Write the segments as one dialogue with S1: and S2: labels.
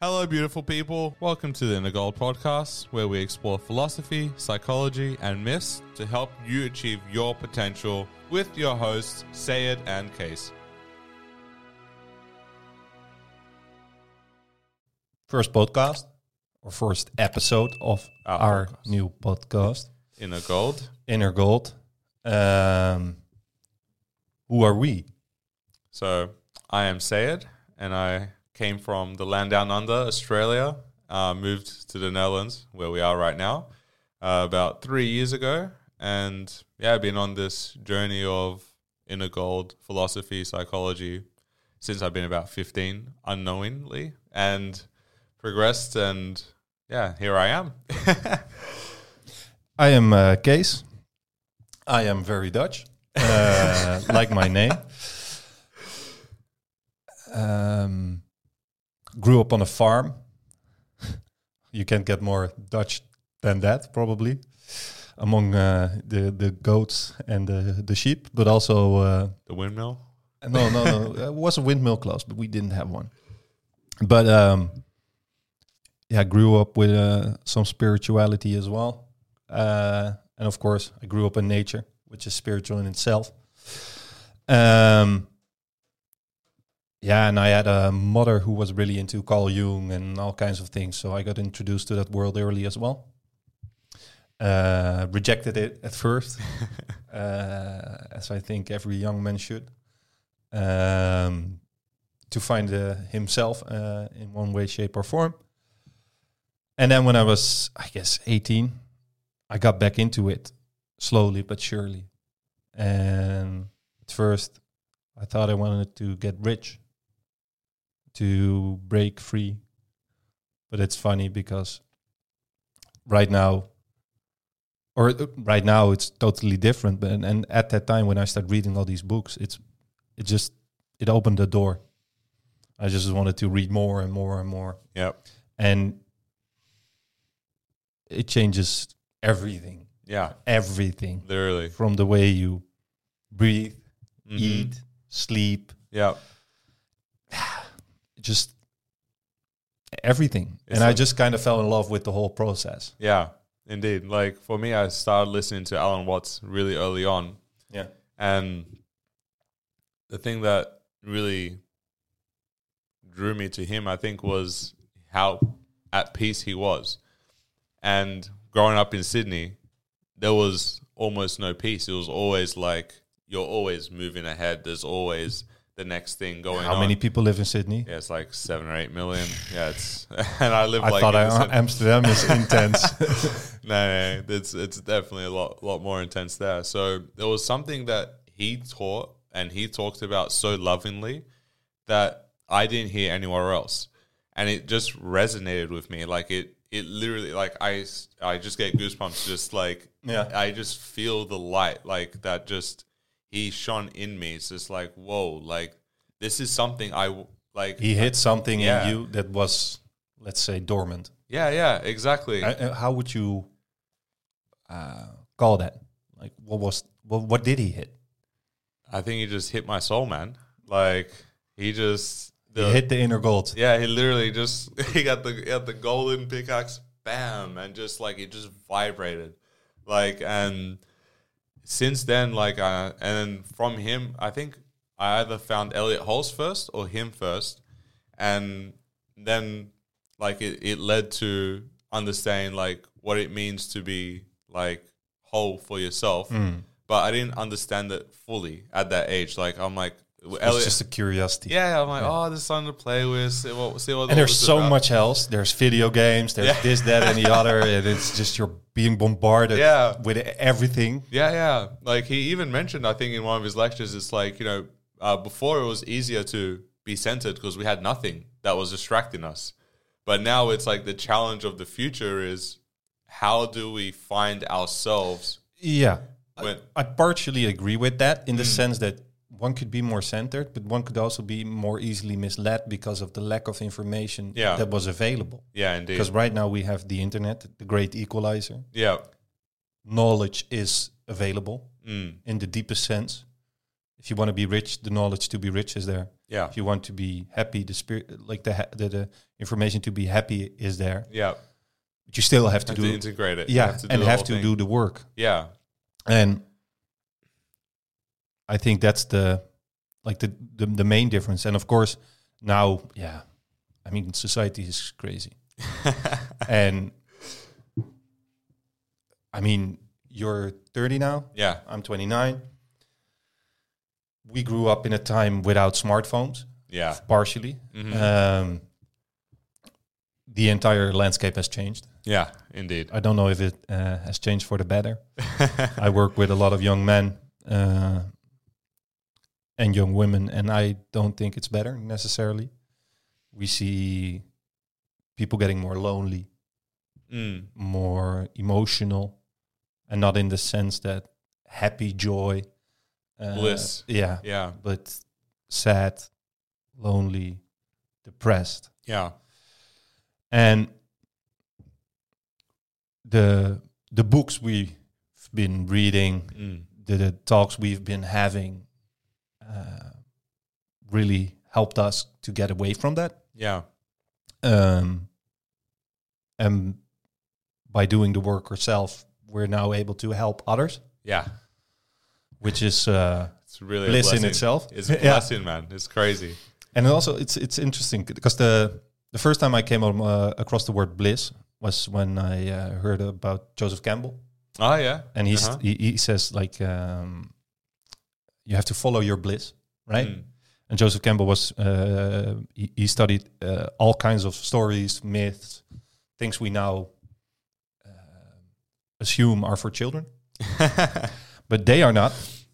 S1: Hello, beautiful people. Welcome to the Inner Goal podcast, where we explore philosophy, psychology, and myths to help you achieve your potential with your hosts, Sayed and Case.
S2: first podcast or first episode of
S1: Our
S2: our,
S1: podcast.
S2: new podcast,
S1: Inner Gold.
S2: Inner Gold. Um, who are we?
S1: So, I am Sayed, and I came from the land down under, Australia, uh, moved to the Netherlands, where we are right now, uh, about three years ago. And yeah, I've been on this journey of inner gold, philosophy, psychology since I've been about 15, unknowingly, and progressed. And yeah, here I am.
S2: I am uh, Kees. I am very Dutch, uh, like my name. Um, grew up on a farm. you can't get more Dutch than that, probably. Among uh, the the goats and the the sheep, but also uh,
S1: the windmill.
S2: No, no, no. it was a windmill close, but we didn't have one. But um, yeah, I grew up with uh, some spirituality as well, uh, and of course, I grew up in nature, which is spiritual in itself. Um, yeah, and I had a mother who was really into Carl Jung and all kinds of things, so I got introduced to that world early as well. Uh, rejected it at first, uh, as I think every young man should um, to find uh, himself uh, in one way, shape, or form. And then when I was, I guess, 18, I got back into it slowly but surely. And at first, I thought I wanted to get rich, to break free. But it's funny because right now, or uh, right now it's totally different. But and, and at that time when I started reading all these books, it's it just it opened the door. I just wanted to read more and more and more,
S1: Yep.
S2: and it changes everything,
S1: Yeah,
S2: everything
S1: literally.
S2: from the way you breathe,
S1: Mhm.
S2: eat, sleep,
S1: Yep.
S2: just everything.
S1: It's
S2: and I
S1: like-
S2: just kind of fell in love with the whole process.
S1: Yeah, indeed. Like for me, I started listening to Alan Watts really early on,
S2: Yeah,
S1: and the thing that really drew me to him, I think, was how at peace he was. And growing up in Sydney, there was almost no peace. It was always like you're always moving ahead. There's always the next thing going
S2: how
S1: on.
S2: many people live in Sydney?
S1: yeah, it's like seven or eight million. Yeah, it's and I live
S2: I
S1: like
S2: thought
S1: in
S2: I,
S1: the cen-
S2: Amsterdam is intense.
S1: no, no, no, it's it's definitely a lot lot more intense there. So there was something that he taught and he talked about so lovingly that I didn't hear anywhere else, and it just resonated with me. Like it, it literally, like I, s- I just get goosebumps. Just like
S2: Yeah.
S1: I just feel the light, like that. Just he shone in me. It's just like whoa, like this is something I w- like.
S2: he hit something
S1: Yeah.
S2: in you that was, let's say, dormant.
S1: yeah, yeah, exactly.
S2: Uh, uh, how would you uh, call that? Like, what was what, what did he hit?
S1: I think he just hit my soul, man. Like he just the
S2: he hit the inner gold.
S1: yeah, he literally just he got the he got the golden pickaxe, bam, and just like it just vibrated, like and since then, like uh, and then from him, I think I either found Elliot Hulse first or him first, and then like it, it led to understanding like what it means to be like whole for yourself. But I didn't understand it fully at that age. Like I'm like
S2: It's
S1: Elliot,
S2: just a curiosity.
S1: yeah, I'm like, oh, there's something to play with. See what, see what
S2: And there's
S1: this is
S2: so
S1: about."
S2: much else. There's video games. There's
S1: Yeah.
S2: this, that, and the other, and it's just you're being bombarded
S1: Yeah.
S2: with everything.
S1: Yeah, yeah. Like he even mentioned, I think in one of his lectures, it's like you know, uh, before it was easier to be centered because we had nothing that was distracting us, but now it's like the challenge of the future is how do we find ourselves
S2: Yeah,
S1: when
S2: I partially agree with that in the
S1: Mm.
S2: sense that one could be more centered, but one could also be more easily misled because of the lack of information
S1: Yeah.
S2: that was available.
S1: yeah, indeed,
S2: Because right now we have the internet, the great equalizer.
S1: yeah,
S2: knowledge is available
S1: mm,
S2: in the deepest sense. if you want to be rich, the knowledge to be rich is there.
S1: Yeah.
S2: If you want to be happy, the spirit, like the ha- the, the information to be happy is there.
S1: Yeah.
S2: But you still have to
S1: Have
S2: do,
S1: to integrate it.
S2: yeah,
S1: to do
S2: and
S1: the
S2: have
S1: whole
S2: to
S1: thing.
S2: do the work.
S1: Yeah.
S2: And I think that's the like the, the the main difference. And of course, now, yeah, I mean, society is crazy, and I mean, you're 30 now.
S1: yeah.
S2: I'm 29. We grew up in a time without smartphones,
S1: Yeah.
S2: partially.
S1: Mhm.
S2: Um, the entire landscape has changed.
S1: Yeah. Indeed.
S2: I don't know if it uh, has changed for the better. I work with a lot of young men uh, and young women, and I don't think it's better necessarily. We see people getting more lonely,
S1: Mm.
S2: more emotional, and not in the sense that happy, joy, uh,
S1: Bliss.
S2: Yeah,
S1: Yeah.
S2: but sad, lonely, depressed.
S1: Yeah.
S2: and the the books we've been reading,
S1: Mm.
S2: the, the talks we've been having, uh, really helped us to get away from that.
S1: Yeah.
S2: Um, and by doing the work ourselves, we're now able to help others,
S1: Yeah.
S2: which is uh,
S1: It's really a
S2: bliss in
S1: blessing.
S2: itself.
S1: It's a blessing, man. It's crazy.
S2: And also, it's it's interesting because the the first time I came um, uh, across the word bliss was when I uh, heard about Joseph Campbell.
S1: Oh yeah.
S2: and he's,
S1: Uh-huh.
S2: he, he says like um, you have to follow your bliss right
S1: Mm.
S2: and joseph campbell was uh, he, he studied uh, all kinds of stories myths things we now uh, assume are for children but they are not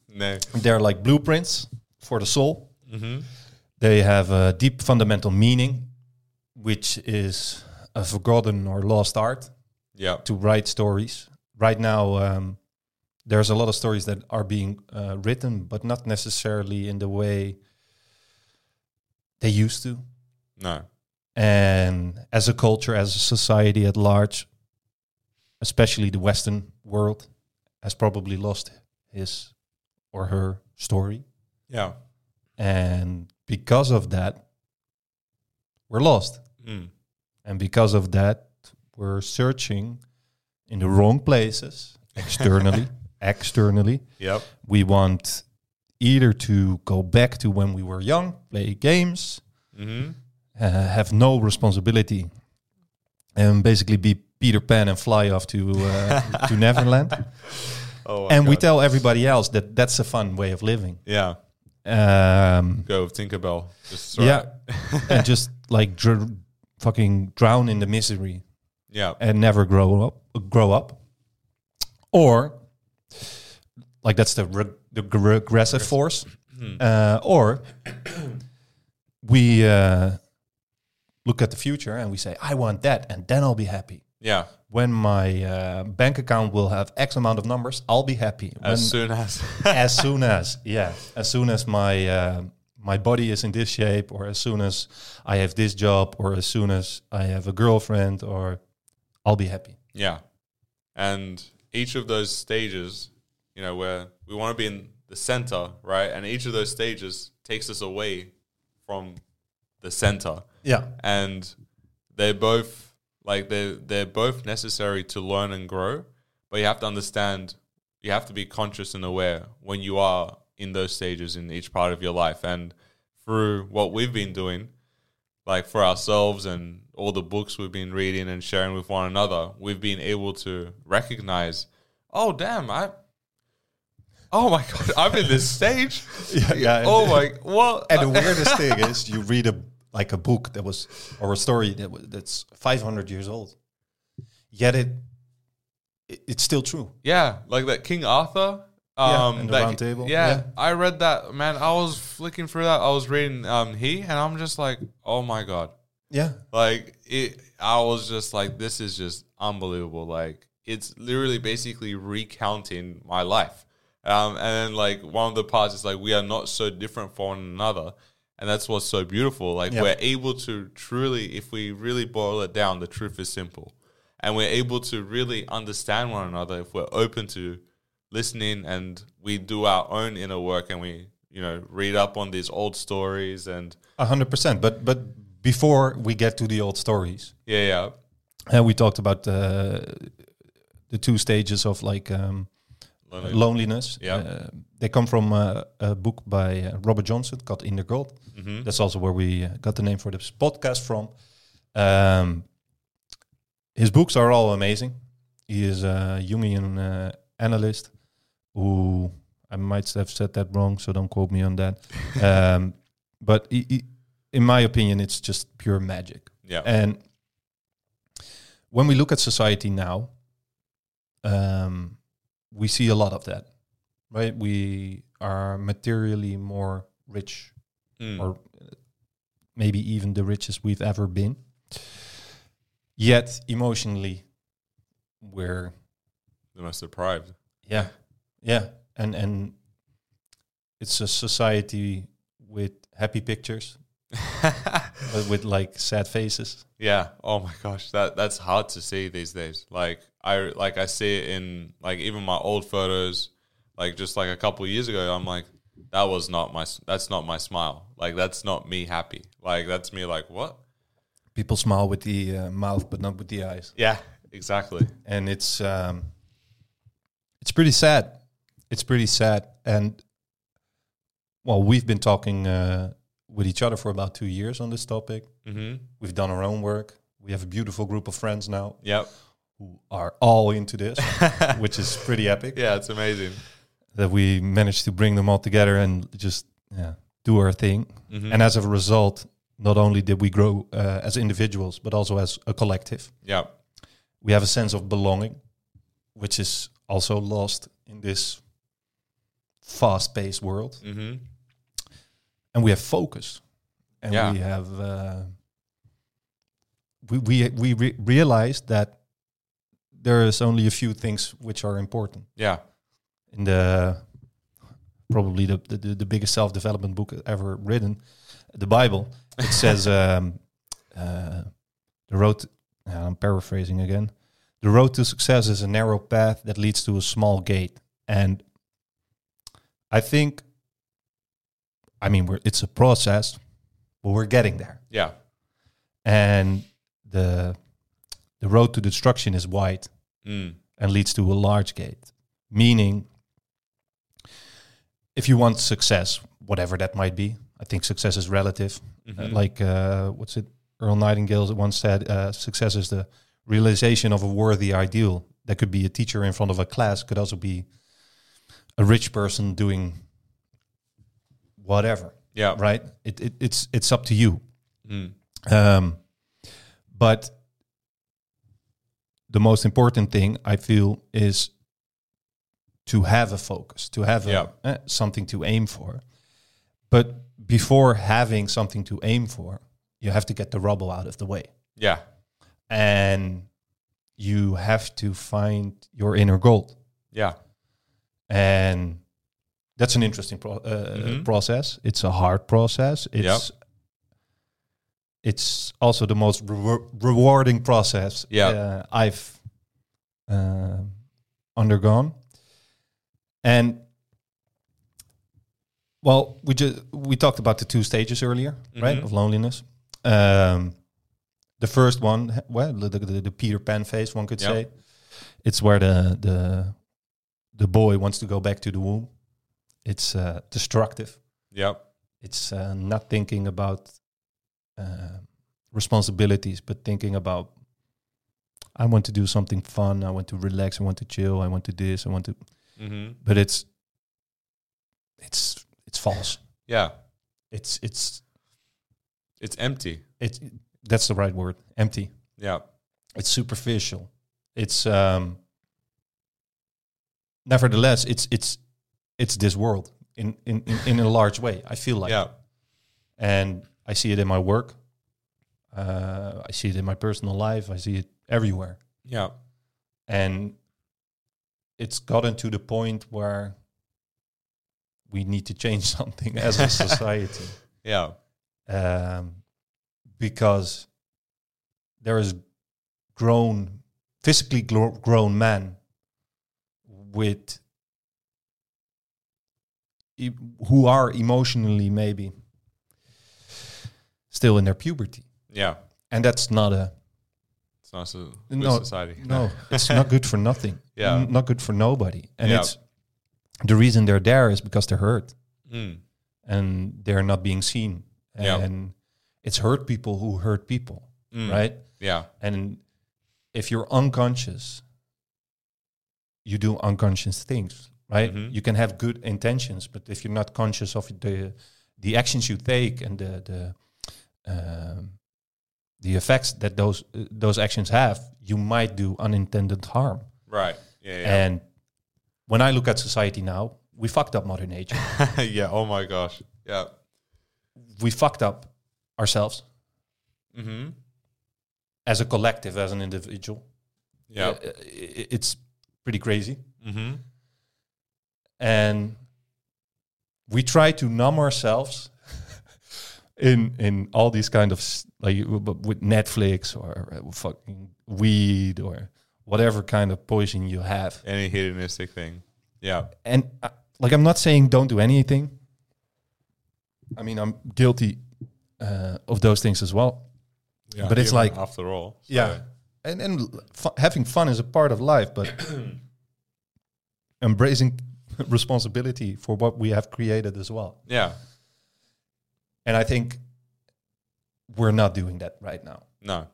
S1: no.
S2: they're like blueprints for the soul
S1: Mm-hmm.
S2: they have a deep fundamental meaning which is a forgotten or lost art
S1: Yeah.
S2: to write stories. Right now, um, there's a lot of stories that are being uh, written, but not necessarily in the way they used to.
S1: No.
S2: And as a culture, as a society at large, especially the Western world, has probably lost his or her story.
S1: Yeah.
S2: And because of that, we're lost.
S1: Mm.
S2: And because of that, we're searching in the wrong places externally. externally,
S1: Yep.
S2: we want either to go back to when we were young, play games,
S1: Mm-hmm.
S2: uh, have no responsibility, and basically be Peter Pan and fly off to uh, to Neverland.
S1: Oh. my
S2: and we
S1: God.
S2: tell everybody else that that's a fun way of living.
S1: yeah.
S2: Um,
S1: Go with Tinkerbell. Just throw
S2: yeah,
S1: it.
S2: and just like dr- fucking drown in the misery.
S1: Yeah.
S2: and never grow up grow up or like that's the reg- the g- regressive force uh, or we uh, look at the future and we say i want that and then i'll be happy
S1: Yeah.
S2: when my uh, bank account will have x amount of numbers i'll be happy when,
S1: As soon as.
S2: as soon as yeah as soon as my uh, my body is in this shape or as soon as i have this job or as soon as i have a girlfriend or i'll be happy
S1: Yeah. And each of those stages, you know, where we want to be in the center, right? And each of those stages takes us away from the center.
S2: yeah
S1: And they're both like they they're both necessary to learn and grow, but you have to understand you have to be conscious and aware when you are in those stages in each part of your life. And through what we've been doing, like for ourselves and all the books we've been reading and sharing with one another, we've been able to recognize, oh damn, I oh my god, I'm in this stage.
S2: yeah.
S1: Oh my what
S2: and the weirdest thing is you read a like a book that was or a story that was that's 500 years old yet it, it it's still true
S1: Yeah, like that King Arthur.
S2: Yeah,
S1: Um,
S2: and the
S1: that-
S2: round table.
S1: Yeah,
S2: Yeah.
S1: I read that. Man, I was flicking through that. I was reading um, he, and I'm just like, oh my god,
S2: yeah
S1: like it. I was just like, this is just unbelievable. Like it's literally basically recounting my life. Um, and then like one of the parts is like we are not so different from one another, and that's what's so beautiful. Like
S2: Yeah.
S1: we're able to truly, if we really boil it down, the truth is simple, and we're able to really understand one another if we're open to listening and we do our own inner work and we you know read up on these old stories and
S2: A hundred percent. But but before we get to the old stories,
S1: yeah yeah
S2: and we talked about uh, the two stages of like um,
S1: Lonely-
S2: loneliness.
S1: Yeah.
S2: Uh, they come from uh, a book by uh, Robert Johnson called In the Gold.
S1: Mhm.
S2: That's also where we uh, got the name for this podcast from. Um, his books are all amazing. He is a Jungian uh, analyst who I might have said that wrong, so don't quote me on that. um, but he, he, in my opinion, it's just pure magic.
S1: yeah
S2: And when we look at society now, um, we see a lot of that, right? We are materially more rich,
S1: Mm.
S2: or maybe even the richest we've ever been. Yet emotionally, we're
S1: the most deprived
S2: yeah, yeah, and and it's a society with happy pictures, but with like sad faces.
S1: Yeah. Oh my gosh, that that's hard to see these days. Like I like I see it in like even my old photos, like just like a couple years ago. I'm like, that was not my s- that's not my smile. Like that's not me happy. Like that's me like what?
S2: People smile with the uh, mouth, but not with the eyes.
S1: Yeah, exactly.
S2: and it's um, it's pretty sad. It's pretty sad, and well, we've been talking uh, with each other for about two years on this topic.
S1: Mm-hmm.
S2: We've done our own work. We have a beautiful group of friends now
S1: Yep.
S2: who are all into this, which is pretty epic
S1: Yeah, it's amazing.
S2: that we managed to bring them all together and just yeah, do our thing.
S1: Mhm.
S2: And as a result, not only did we grow uh, as individuals, but also as a collective.
S1: Yep.
S2: we have a sense of belonging, which is also lost in this fast paced world.
S1: Mm-hmm.
S2: And we have focus. And
S1: Yeah.
S2: we have, uh, we, we, we re- realize that there is only a few things which are important.
S1: Yeah.
S2: In the probably the, the, the biggest self development book ever written, the Bible, it says, um, uh, the road, uh, I'm paraphrasing again. The road to success is a narrow path that leads to a small gate. And I think, I mean, we're, it's a process, but we're getting there.
S1: Yeah.
S2: And the, the road to destruction is wide
S1: Mm.
S2: and leads to a large gate. Meaning, if you want success, whatever that might be, I think success is relative. Uh,
S1: Mhm.
S2: like, uh, what's it? Earl Nightingale once said, uh, success is the realization of a worthy ideal. That could be a teacher in front of a class, could also be a rich person doing whatever,
S1: Yeah.
S2: right? It, it, it's, it's up to you.
S1: Mm.
S2: Um, but the most important thing I feel is to have a focus, to have a-
S1: Yeah.
S2: eh, something to aim for. But before having something to aim for, you have to get the rubble out of the way.
S1: Yeah.
S2: And you have to find your inner gold.
S1: Yeah.
S2: And that's an interesting pro- uh,
S1: Mhm.
S2: process. It's a hard process. It's it's also the most rewar- rewarding process
S1: Yeah.
S2: uh, I've uh, undergone. And well, we just we talked about the two stages earlier, right?
S1: Mhm.
S2: Of loneliness. Um, the first one, well, the, the, the Peter Pan phase, one could
S1: Yeah.
S2: say, it's where the the the boy wants to go back to the womb. It's uh, destructive
S1: Yep.
S2: it's uh, not thinking about uh, responsibilities, but thinking about I want to do something fun. I want to relax. I want to chill. I want to this. I want to,
S1: Mm-hmm.
S2: but it's it's it's false.
S1: Yeah.
S2: It's it's
S1: It's empty.
S2: it's that's the right word. Empty.
S1: Yeah.
S2: It's superficial. It's um. Nevertheless, it's it's it's this world in in in, in a large way. I feel like
S1: yeah.
S2: and I see it in my work. Uh, I see it in my personal life. I see it everywhere,
S1: Yeah.
S2: and it's gotten to the point where we need to change something as a society
S1: Yeah.
S2: um, because there is grown, physically gro- grown man with e- who are emotionally maybe still in their puberty,
S1: Yeah.
S2: and that's not a
S1: It's not so good
S2: No,
S1: society.
S2: no. it's not good for nothing.
S1: Yeah.
S2: N- not good for nobody. And
S1: Yeah.
S2: it's the reason they're there is because they're hurt
S1: Mm.
S2: and they're not being seen.
S1: Yeah.
S2: And it's hurt people who hurt people,
S1: Mm.
S2: right?
S1: Yeah.
S2: And if you're unconscious, you do unconscious things, right?
S1: Mhm.
S2: You can have good intentions, but if you're not conscious of the the actions you take and the the um, the effects that those uh, those actions have, you might do unintended harm.
S1: Right. Yeah.
S2: And when I look at society now, we fucked up modern nature.
S1: Yeah. yeah. Oh my gosh. Yeah.
S2: we fucked up ourselves
S1: Mm-hmm.
S2: as a collective, as an individual.
S1: Yeah.
S2: Uh, i- it's pretty crazy.
S1: Mm-hmm.
S2: and we try to numb ourselves in in all these kind of s- like w- w- with Netflix or uh, fucking weed or whatever kind of poison you have.
S1: Any hedonistic thing. Yeah.
S2: And uh, like I'm not saying don't do anything. I mean I'm guilty uh, of those things as well.
S1: yeah.
S2: But it's
S1: Human
S2: like-
S1: after all. so-
S2: Yeah, and and l- fu- having fun is a part of life, but embracing responsibility for what we have created as well.
S1: Yeah.
S2: And I think we're not doing that right now.
S1: No.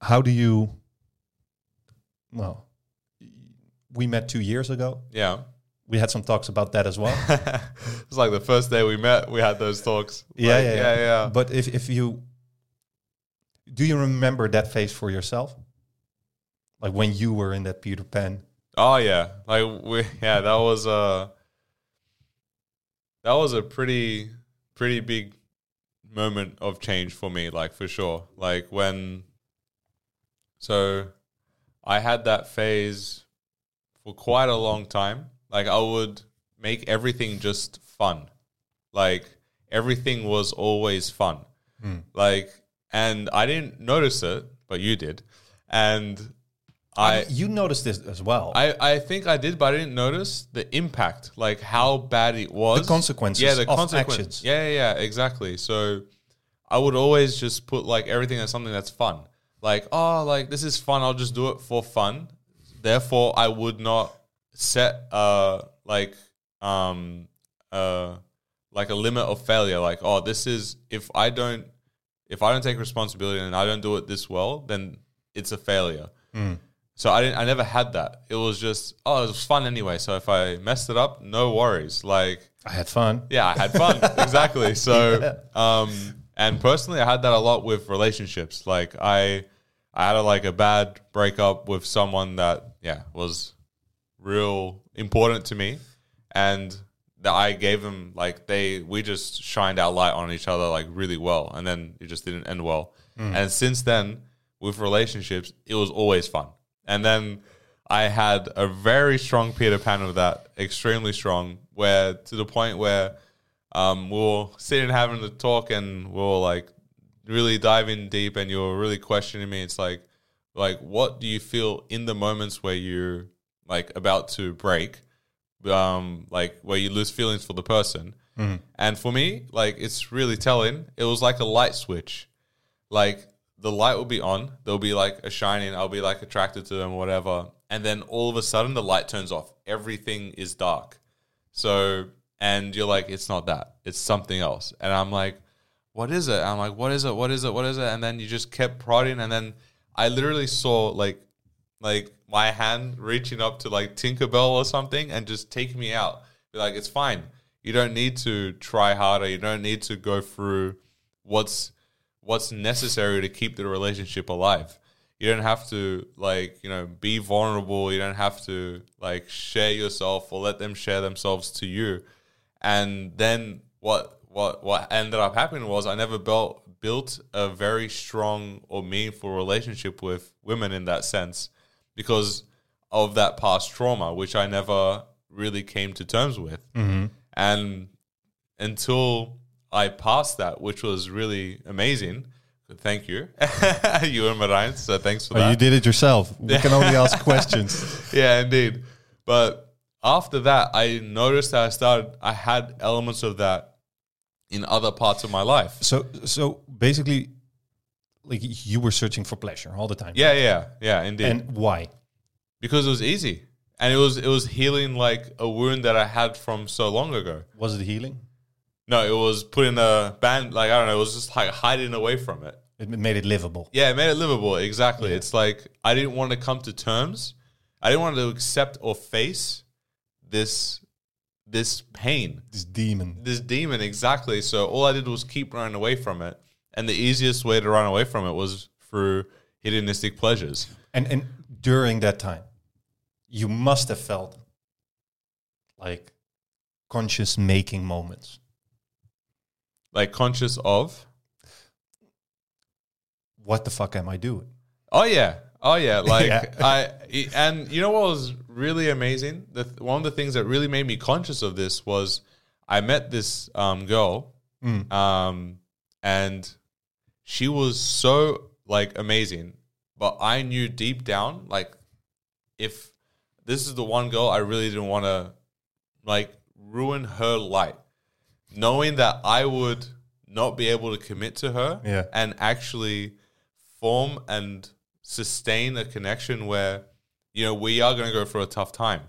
S2: How do you? Well, we met two years ago.
S1: Yeah.
S2: We had some talks about that as well.
S1: it's like the first day we met, we had those talks.
S2: Yeah,
S1: Like,
S2: yeah,
S1: yeah,
S2: yeah.
S1: yeah.
S2: but if if you do you remember that phase for yourself, like when you were in that Peter Pan?
S1: Oh yeah, like we yeah that was a that was a pretty pretty big moment of change for me, like for sure. Like when so I had that phase for quite a long time. Like I would make everything just fun. Like everything was always fun. Like and I didn't notice it, but you did. And I
S2: you noticed this as well.
S1: I, I think I did, but I didn't notice the impact, like how bad it was.
S2: The consequences
S1: Yeah, the
S2: of
S1: consequence.
S2: actions.
S1: Yeah, yeah, yeah, exactly. So I would always just put like everything as something that's fun. Like, oh, like this is fun. I'll just do it for fun. Therefore, I would not set uh like um uh like a limit of failure. Like, oh, this is if I don't if I don't take responsibility and I don't do it this well, then it's a failure.
S2: Hmm.
S1: So I didn't. I never had that. It was just oh, it was fun anyway. So if I messed it up, no worries. Like
S2: I had fun.
S1: yeah, I had fun exactly. So um, and personally, I had that a lot with relationships. Like I, I had a, like a bad breakup with someone that yeah was real important to me, and that I gave them like they we just shined our light on each other like really well, and then it just didn't end well. And since then, with relationships, it was always fun. And then I had a very strong Peter Pan of that, extremely strong, where to the point where um, we were sitting having the talk and we were like really diving deep and you were really questioning me. It's like, like, what do you feel in the moments where you're like about to break? um, like where you lose feelings for the person. And for me, like it's really telling. It was like a light switch. Like the light will be on, there'll be like a shining, I'll be like attracted to them, whatever. And then all of a sudden the light turns off. Everything is dark. So and you're like, it's not that. It's something else. And I'm like, what is it? I'm like, what is it? What is it? What is it? And then you just kept prodding and then I literally saw like like my hand reaching up to like Tinkerbell or something and just take me out. Be like, it's fine. You don't need to try harder. You don't need to go through what's what's necessary to keep the relationship alive. You don't have to like, you know, be vulnerable. You don't have to like share yourself or let them share themselves to you. And then what what what ended up happening was I never built built a very strong or meaningful relationship with women in that sense because of that past trauma, which I never really came to terms with. And until I passed that, which was really amazing. Thank you, you and Marijn.
S2: Oh,
S1: So thanks for that
S2: you did it yourself. We can only ask questions.
S1: yeah, indeed. But after that, I noticed that I started. I had elements of that in other parts of my life.
S2: So so basically, like you were searching for pleasure all the time.
S1: Yeah, yeah, yeah, indeed.
S2: And why?
S1: because it was easy, and it was it was healing like a wound that I had from so long ago.
S2: Was it healing?
S1: No, it was putting a band like I don't know. It was just like hiding away from it.
S2: It made it livable.
S1: Yeah, it made it livable. Exactly. It's like I didn't want to come to terms. I didn't want to accept or face this this pain,
S2: This demon.
S1: this demon. Exactly. So all I did was keep running away from it, and the easiest way to run away from it was through hedonistic pleasures.
S2: And and during that time, you must have felt like conscious making moments.
S1: Like conscious of.
S2: What the fuck am I doing?
S1: Oh yeah. Oh yeah, like
S2: Yeah.
S1: I i- and you know what was really amazing? The th- one of the things that really made me conscious of this was I met this um, girl,
S2: Mm.
S1: um, and she was so like amazing, but I knew deep down like if this is the one girl I really didn't want to like ruin her light, knowing that I would not be able to commit to her
S2: Yeah.
S1: and actually form and sustain a connection where you know we are going to go for a tough time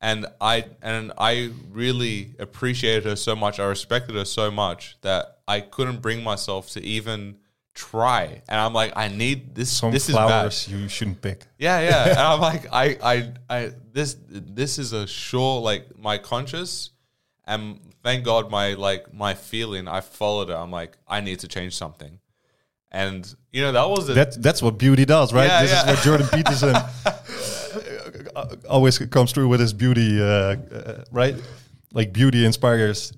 S1: and i and i really appreciated her so much i respected her so much that i couldn't bring myself to even try and i'm like i need this
S2: Some
S1: this is bad.
S2: flowers you shouldn't pick.
S1: Yeah, yeah. and I'm like, I, I, I, this, this is a sure, like my conscious, and thank God my, like my feeling, I followed it. I'm like, I need to change something, and you know that was the
S2: That, that's what beauty does, right?
S1: Yeah,
S2: this
S1: yeah.
S2: is what Jordan Peterson uh, always comes through with his beauty, uh, uh, right? Like beauty inspires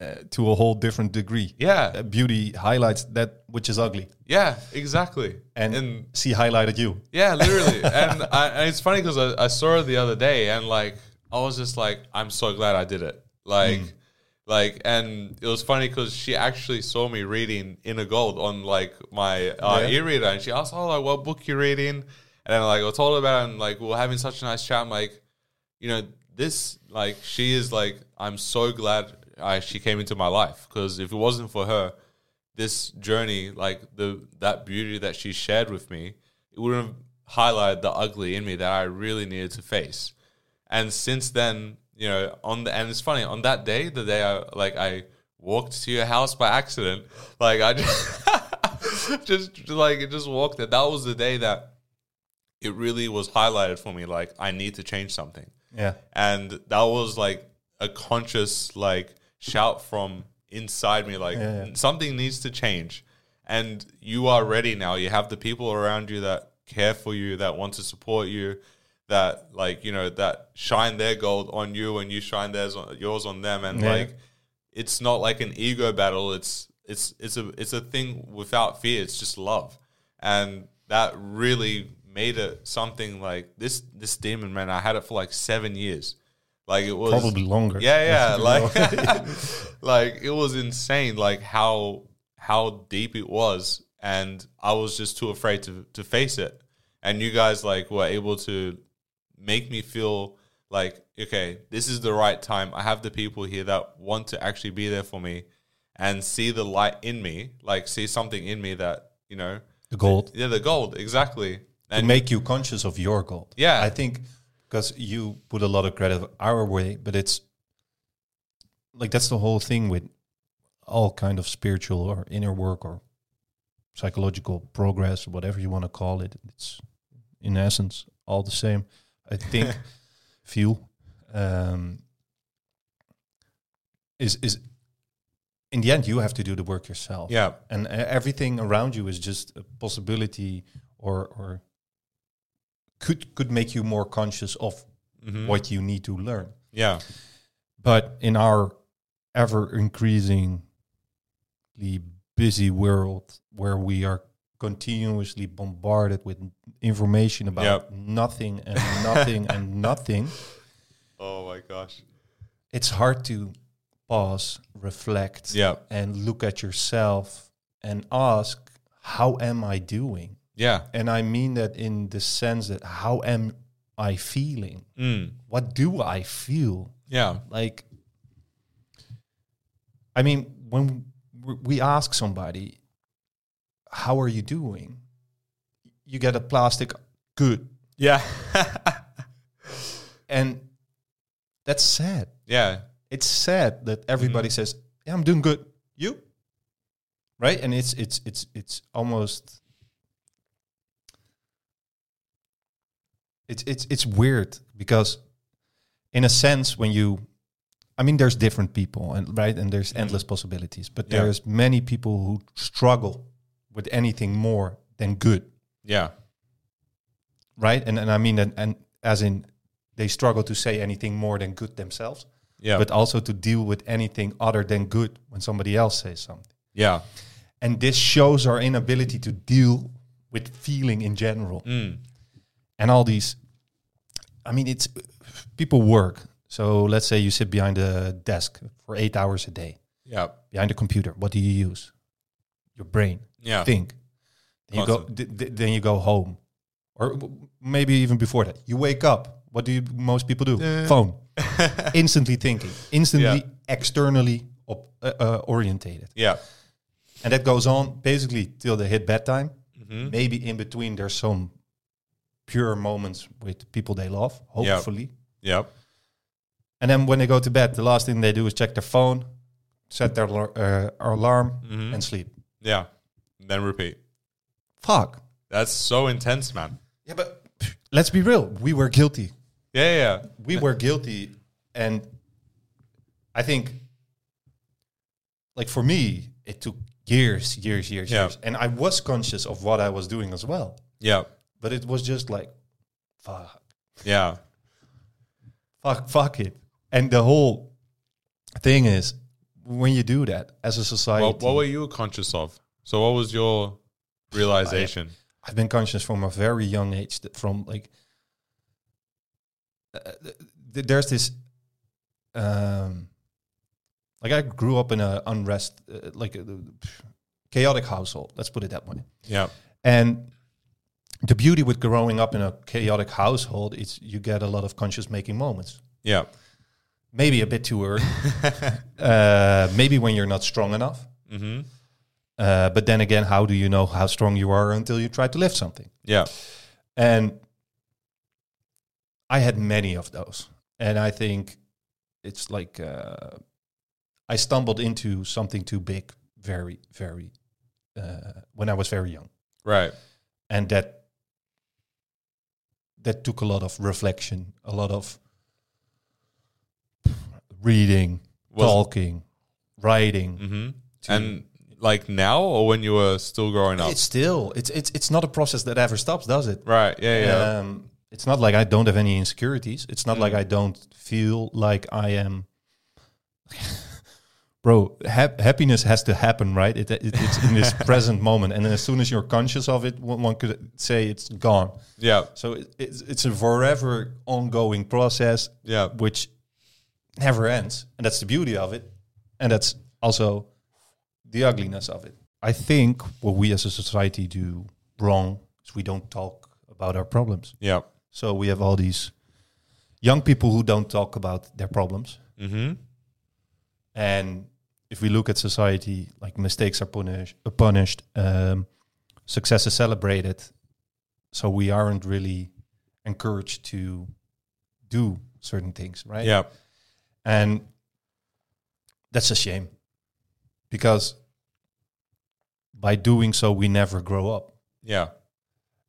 S2: uh, to a whole different degree. Uh,
S1: yeah,
S2: beauty highlights that which is ugly,
S1: yeah, exactly,
S2: and, she highlighted you.
S1: Yeah, literally. and, I, and it's funny because I, I saw her the other day, and like I was just like, I'm so glad I did it. Like, like, and it was funny because she actually saw me reading Inner Gold on like my uh,
S2: Yeah.
S1: e-reader, and she asked, "Oh, like, what book you reading?" And then like I told her about, it, and like we we're having such a nice chat. I'm like, you know, this like she is like, I'm so glad I, she came into my life because if it wasn't for her, this journey, like the that beauty that she shared with me, it wouldn't have highlighted the ugly in me that I really needed to face. And since then, you know, on the and it's funny on that day, the day I like I walked to your house by accident, like I just just like it just walked there. That was the day that it really was highlighted for me. Like I need to change something
S2: Yeah.
S1: and that was like a conscious like shout from inside me like
S2: Yeah, yeah.
S1: something needs to change and you are ready now you have the people around you that care for you that want to support you that like you know that shine their gold on you and you shine theirs on, yours on them and
S2: Yeah.
S1: like it's not like an ego battle it's it's it's a it's a thing without fear it's just love and that really made it something like this this demon man i had it for like seven years like it was
S2: Probably longer.
S1: yeah, yeah. Like, like it was insane. Like how how deep it was, and I was just too afraid to to face it. And you guys like were able to make me feel like okay, this is the right time. I have the people here that want to actually be there for me, and see the light in me. Like see something in me that you know,
S2: the gold.
S1: yeah, the gold exactly.
S2: To
S1: And
S2: make you conscious of your gold.
S1: Yeah.
S2: I think because you put a lot of credit our way, but it's like that's the whole thing with all kind of spiritual or inner work or psychological progress, whatever you want to call it. It's in essence all the same. I think feel um, is is in the end you have to do the work yourself
S1: yeah,
S2: and uh, everything around you is just a possibility or or could could make you more conscious of
S1: mhm,
S2: what you need to learn
S1: yeah,
S2: but in our ever increasingly busy world where we are continuously bombarded with information about
S1: Yep.
S2: nothing and nothing and nothing
S1: oh my gosh,
S2: it's hard to pause reflect
S1: yeah,
S2: and look at yourself and ask how am i doing
S1: yeah,
S2: and I mean that in the sense that how am I feeling?
S1: Mm.
S2: What do I feel?
S1: Yeah.
S2: Like, I mean, when w- we ask somebody, how are you doing? You get a plastic good.
S1: Yeah.
S2: And that's sad.
S1: yeah.
S2: It's sad that everybody says, yeah, I'm doing good. You? Right? And it's, it's, it's, it's almost, it's, it's, it's weird because in a sense, when you, I mean, there's different people and right. And there's endless possibilities, but
S1: Mm-hmm. Yeah.
S2: there's many people who struggle with anything more than good
S1: Yeah.
S2: right? And and I mean, and, and as in, they struggle to say anything more than good themselves,
S1: Yeah.
S2: but also to deal with anything other than good when somebody else says something.
S1: yeah.
S2: And this shows our inability to deal with feeling in general. And all these, I mean, it's people work. So let's say you sit behind a desk for eight hours a day,
S1: Yeah.
S2: behind a computer. What do you use? Your brain
S1: Yeah.
S2: think. Then you go. th- th- then you go home, or w- maybe even before that. You wake up. What do you, most people do? Phone. instantly thinking. Instantly externally op- uh, uh, orientated,
S1: Yeah.
S2: and that goes on basically till they hit bedtime. Maybe in between, there's some pure moments with people they love,
S1: Yeah.
S2: hopefully.
S1: Yeah.
S2: And then when they go to bed, the last thing they do is check their phone, set their alar- uh, alarm, and sleep.
S1: Yeah. Then repeat.
S2: Fuck.
S1: That's so intense, man.
S2: Yeah, but let's be real. We were guilty.
S1: Yeah. Yeah.
S2: we were guilty and i think like for me it took years years years
S1: Yeah.
S2: years and i was conscious of what i was doing as well
S1: Yeah.
S2: but it was just like fuck
S1: Yeah.
S2: fuck fuck it and the whole thing is when you do that as a society
S1: Well, what were you conscious of? So, what was your realization?
S2: I've been conscious from a very young age that from like uh, th- th- there's this um like I grew up in a unrest uh, like a chaotic household let's put it that way
S1: Yeah.
S2: and the beauty with growing up in a chaotic household is you get a lot of conscious making moments
S1: Yeah.
S2: maybe a bit too early uh maybe when you're not strong enough
S1: Mm-hmm.
S2: uh but then again how do you know how strong you are until you try to lift something
S1: Yeah.
S2: And I had many of those. And I think it's like uh, I stumbled into something too big very, very, uh, when I was very young.
S1: Right.
S2: And that, that took a lot of reflection, a lot of reading,
S1: Was-
S2: talking, writing.
S1: Mm-hmm. And like now, or when you were still growing up?
S2: It's still, it's, it's, it's not a process that ever stops, does it?
S1: Right. Yeah. Yeah. Mm.
S2: um, it's not like I don't have any insecurities. It's not like I don't feel like I am. Bro, hap- happiness has to happen, right? It, it, it's in this present moment, and then as soon as you're conscious of it, one, one could say it's gone.
S1: Yeah.
S2: So it, it's it's a forever ongoing process,
S1: Yeah.
S2: which never ends, and that's the beauty of it, and that's also the ugliness of it. I think what we as a society do wrong is we don't talk about our problems.
S1: Yeah.
S2: So we have all these young people who don't talk about their problems.
S1: Mm-hmm.
S2: And if we look at society, like mistakes are punish, uh, punished, um, success is celebrated. So we aren't really encouraged to do certain things, right?
S1: Yeah.
S2: And that's a shame because by doing so, we never grow up.
S1: Yeah.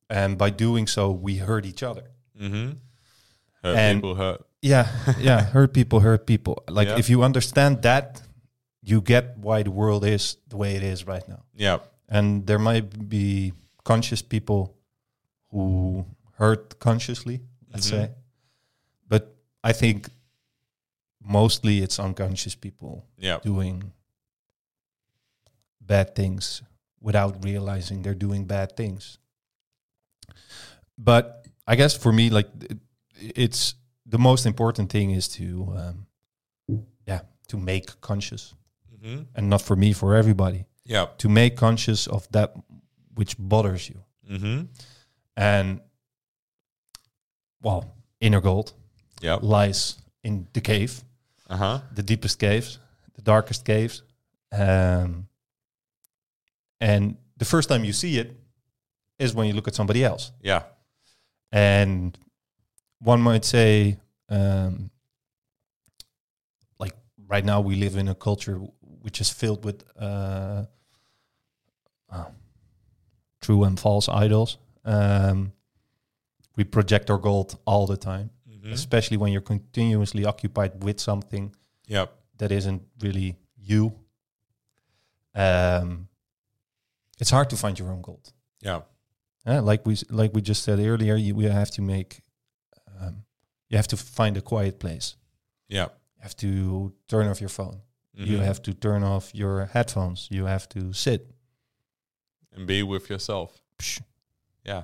S2: And by doing so, we hurt each other.
S1: Mm-hmm. Hurt
S2: And-
S1: people hurt.
S2: Yeah, yeah, hurt people, hurt people. Like
S1: Yeah.
S2: if you understand that, you get why the world is the way it is right now.
S1: Yeah.
S2: And there might be conscious people who hurt consciously, let's
S1: Mhm.
S2: say. But I think mostly it's unconscious people
S1: Yeah.
S2: doing bad things without realizing they're doing bad things. But I guess for me, like it- it's the most important thing is to, um, yeah, to make conscious,
S1: Mm-hmm.
S2: and not for me, for everybody,
S1: Yeah.
S2: to make conscious of that which bothers you.
S1: Mm-hmm.
S2: And well, inner gold
S1: Yeah.
S2: lies in the cave,
S1: Uh huh.
S2: the deepest caves, the darkest caves. Um, and the first time you see it is when you look at somebody else.
S1: Yeah.
S2: and one might say um, like right now we live in a culture w- which is filled with uh, uh, true and false idols um, we project our gold all the time
S1: Mm-hmm.
S2: especially when you're continuously occupied with something
S1: Yep.
S2: that isn't really you um, it's hard to find your own gold
S1: Yeah.
S2: yeah, like we s- like we just said earlier, you we have to make, um, you have to find a quiet place.
S1: Yeah.
S2: You have to turn off your phone. You
S1: Mhm.
S2: have to turn off your headphones. You have to sit.
S1: and be with yourself.
S2: Psh.
S1: Yeah.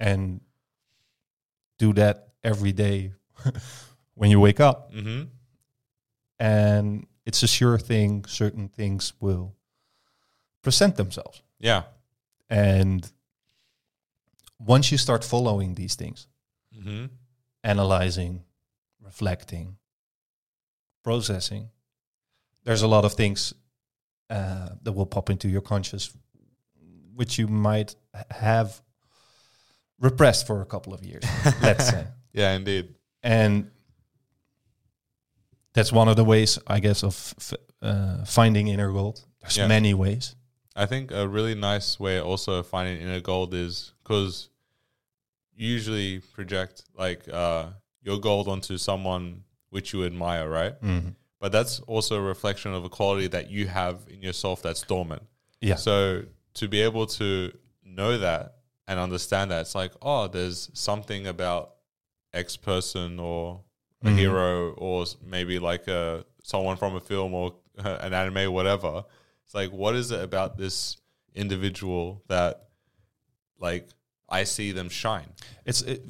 S2: and do that every day when you wake up.
S1: Mm-hmm.
S2: And it's a sure thing. Certain things will present themselves.
S1: Yeah.
S2: And once you start following these things,
S1: Mm-hmm.
S2: analyzing, reflecting, processing. There's a lot of things uh, that will pop into your conscious, which you might h- have repressed for a couple of years, let's say.
S1: Yeah, indeed.
S2: And that's one of the ways, I guess, of f- uh, finding inner gold. There's
S1: Yeah.
S2: many ways.
S1: I think a really nice way also of finding inner gold is because usually project like uh, your gold onto someone which you admire, right? But that's also a reflection of a quality that you have in yourself that's dormant.
S2: Yeah.
S1: So to be able to know that and understand that, it's like, oh, there's something about X person or a
S2: Mhm.
S1: hero or s- maybe like a, someone from a film or an anime, whatever. It's like, what is it about this individual that, like, I see them shine?
S2: It's it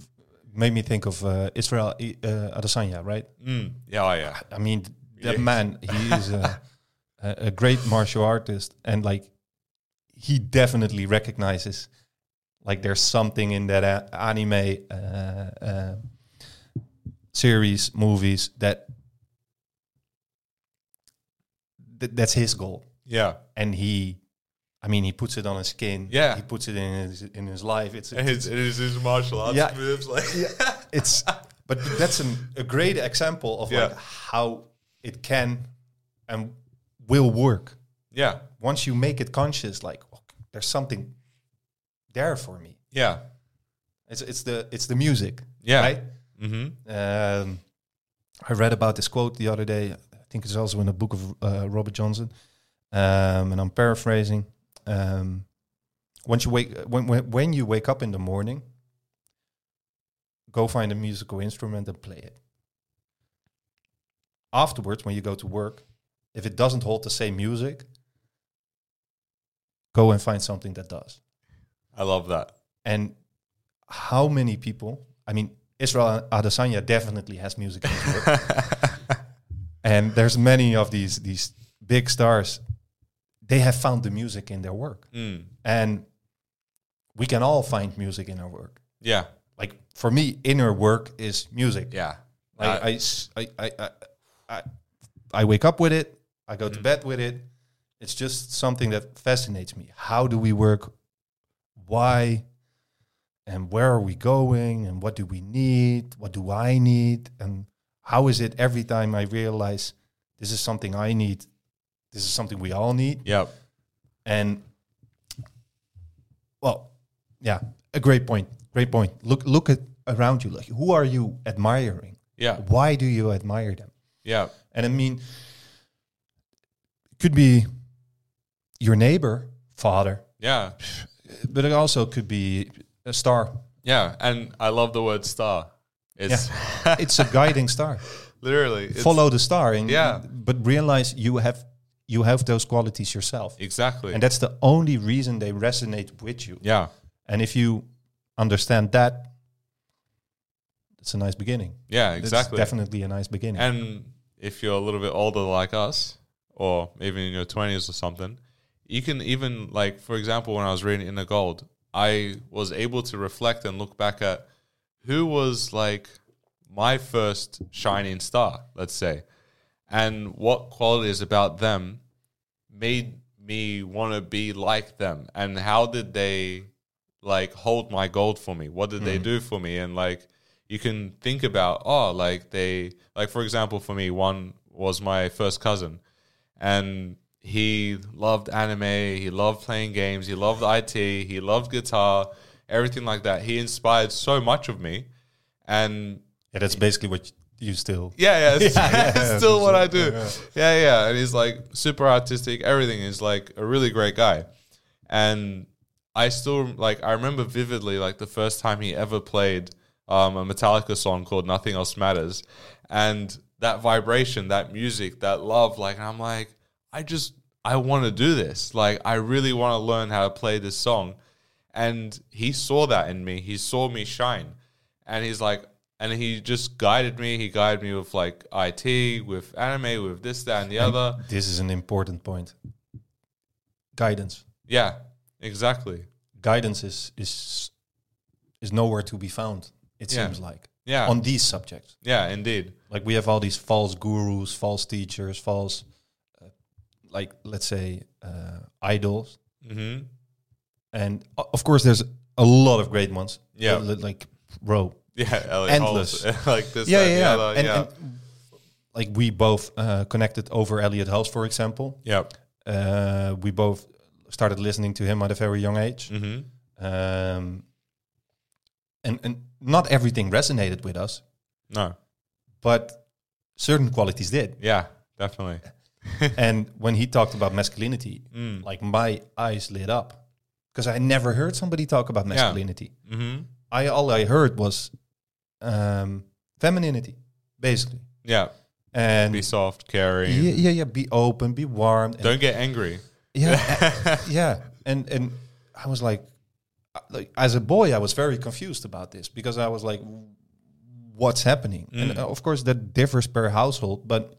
S2: made me think of uh, Israel I- uh, Adesanya, right?
S1: Mm. Yeah, oh, yeah.
S2: I mean, th- that
S1: Yes.
S2: man, he is a, a a great martial artist, and like, he definitely recognizes, like, there's something in that a- anime uh, uh, series, movies that th- that's his goal,
S1: Yeah.
S2: and he, I mean, he puts it on his skin.
S1: Yeah.
S2: he puts it in his in his life. It's
S1: And it's, it is his martial arts
S2: Yeah.
S1: moves. Like,
S2: it's but that's an, a great example of
S1: Yeah.
S2: like how it can and will work
S1: yeah.
S2: once you make it conscious like "Ok, there's something there for me
S1: Yeah.
S2: it's, it's the it's the music
S1: Yeah.
S2: right
S1: Mm-hmm.
S2: um, i read about this quote the other day i think it's also in the book of uh, robert johnson um, and i'm paraphrasing um, once you wake when, when, when you wake up in the morning go find a musical instrument and play it afterwards when you go to work if it doesn't hold the same music go and find something that does
S1: I love that.
S2: and how many people? I mean, Israel Adesanya definitely has music, in his work. and there's many of these these big stars. They have found the music in their work,
S1: Mm.
S2: and we can all find music in our work.
S1: Yeah.
S2: Like for me, inner work is music.
S1: Yeah.
S2: Like I, s- I, I, I, I- I wake up with it. I go to bed with it. It's just something that fascinates me. How do we work? Why? And where are we going? And what do we need? What do I need? And how is it every time I realize this is something I need? This is something we all need.
S1: Yep.
S2: And well, yeah, a great point. Great point. Look, look at around you. Like, who are you admiring?
S1: Yeah.
S2: why do you admire them
S1: Yeah.
S2: and i mean could be your neighbor father
S1: Yeah.
S2: but it also could be a star
S1: Yeah. And I love the word star. It's
S2: it's a guiding star
S1: literally it's
S2: follow the star and
S1: Yeah.
S2: but realize you have you have those qualities yourself
S1: Exactly.
S2: and that's the only reason they resonate with you
S1: yeah.
S2: and if you understand that it's a nice beginning
S1: Yeah.
S2: That's
S1: Exactly.
S2: definitely a nice beginning
S1: And if you're a little bit older like us, or even in your twenties or something, you can even like, for example, when I was reading Inner Gold, I was able to reflect and look back at who was like my first shining star, let's say, and what qualities about them made me want to be like them, and how did they like hold my gold for me? What did they
S2: Hmm.
S1: do for me? And like you can think about, oh, like they like for example, for me, one was my first cousin, and he loved anime, he loved playing games, he loved IT, he loved guitar, everything like that. He inspired so much of me, and
S2: Yeah, that's basically what you, you still.
S1: yeah, yeah, it's,
S2: Yeah,
S1: it's
S2: yeah,
S1: still
S2: for
S1: what I
S2: sure.
S1: do.
S2: Yeah,
S1: Yeah, yeah, And he's like super artistic, everything. He's like a really great guy. And I still like I remember vividly like the first time he ever played um, a Metallica song called Nothing Else Matters. And that vibration, that music, that love, like I'm like, I just I want to do this. Like I really want to learn how to play this song. And he saw that in me. He saw me shine. And he's like, and he just guided me. He guided me with like IT, with anime, with this, that, and the other.
S2: This is an important point. Guidance.
S1: Yeah, exactly.
S2: Guidance is is is nowhere to be found. It
S1: Yeah.
S2: seems like
S1: Yeah,
S2: on these subjects.
S1: yeah, indeed.
S2: Like we have all these false gurus, false teachers, false, uh, like let's say uh, idols,
S1: hmm
S2: and o- of course there's a lot of great ones.
S1: Yeah.
S2: Uh, li- like bro,
S1: Yeah, like
S2: Endless.
S1: Holt, like this,
S2: yeah,
S1: that,
S2: yeah,
S1: yeah,
S2: yeah.
S1: the other.
S2: And,
S1: yeah,
S2: and, like we both uh, connected over Elliot Hulse, for example.
S1: yeah.
S2: Uh, we both started listening to him at a very young age,
S1: hmm
S2: um, and and not everything resonated with us,
S1: No,
S2: but certain qualities did.
S1: yeah, definitely.
S2: and when he talked about masculinity,
S1: Mm.
S2: like my eyes lit up because I never heard somebody talk about masculinity.
S1: hmm
S2: I all I heard was um, femininity, basically,
S1: Yeah,
S2: and
S1: be soft, caring.
S2: yeah, yeah, yeah, be open, be warm. And
S1: Don't get angry.
S2: yeah, a- yeah. And and I was like, uh, like as a boy, I was very confused about this because I was like, what's happening? And uh, of course, that differs per household, but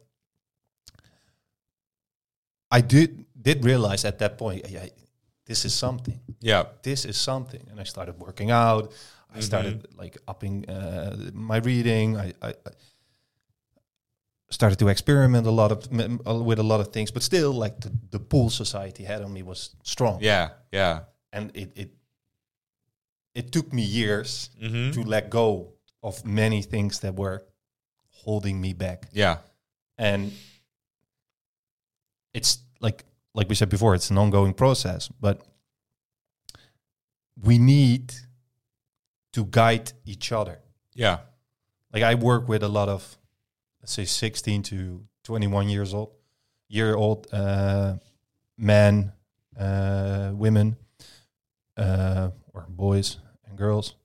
S2: I did did realize at that point, yeah, this is something.
S1: Yeah,
S2: This is something, and I started working out. I started like upping uh, my reading. I, I, I started to experiment a lot of m- m- with a lot of things, but still, like the, the pull society had on me was strong,
S1: yeah, yeah.
S2: and it it it took me years
S1: hmm
S2: to let go of many things that were holding me back,
S1: Yeah,
S2: and it's like like we said before, it's an ongoing process, but we need to guide each other
S1: yeah,
S2: like I work with a lot of let's say 16 to 21 years old year old uh, men uh, women uh, or boys and girls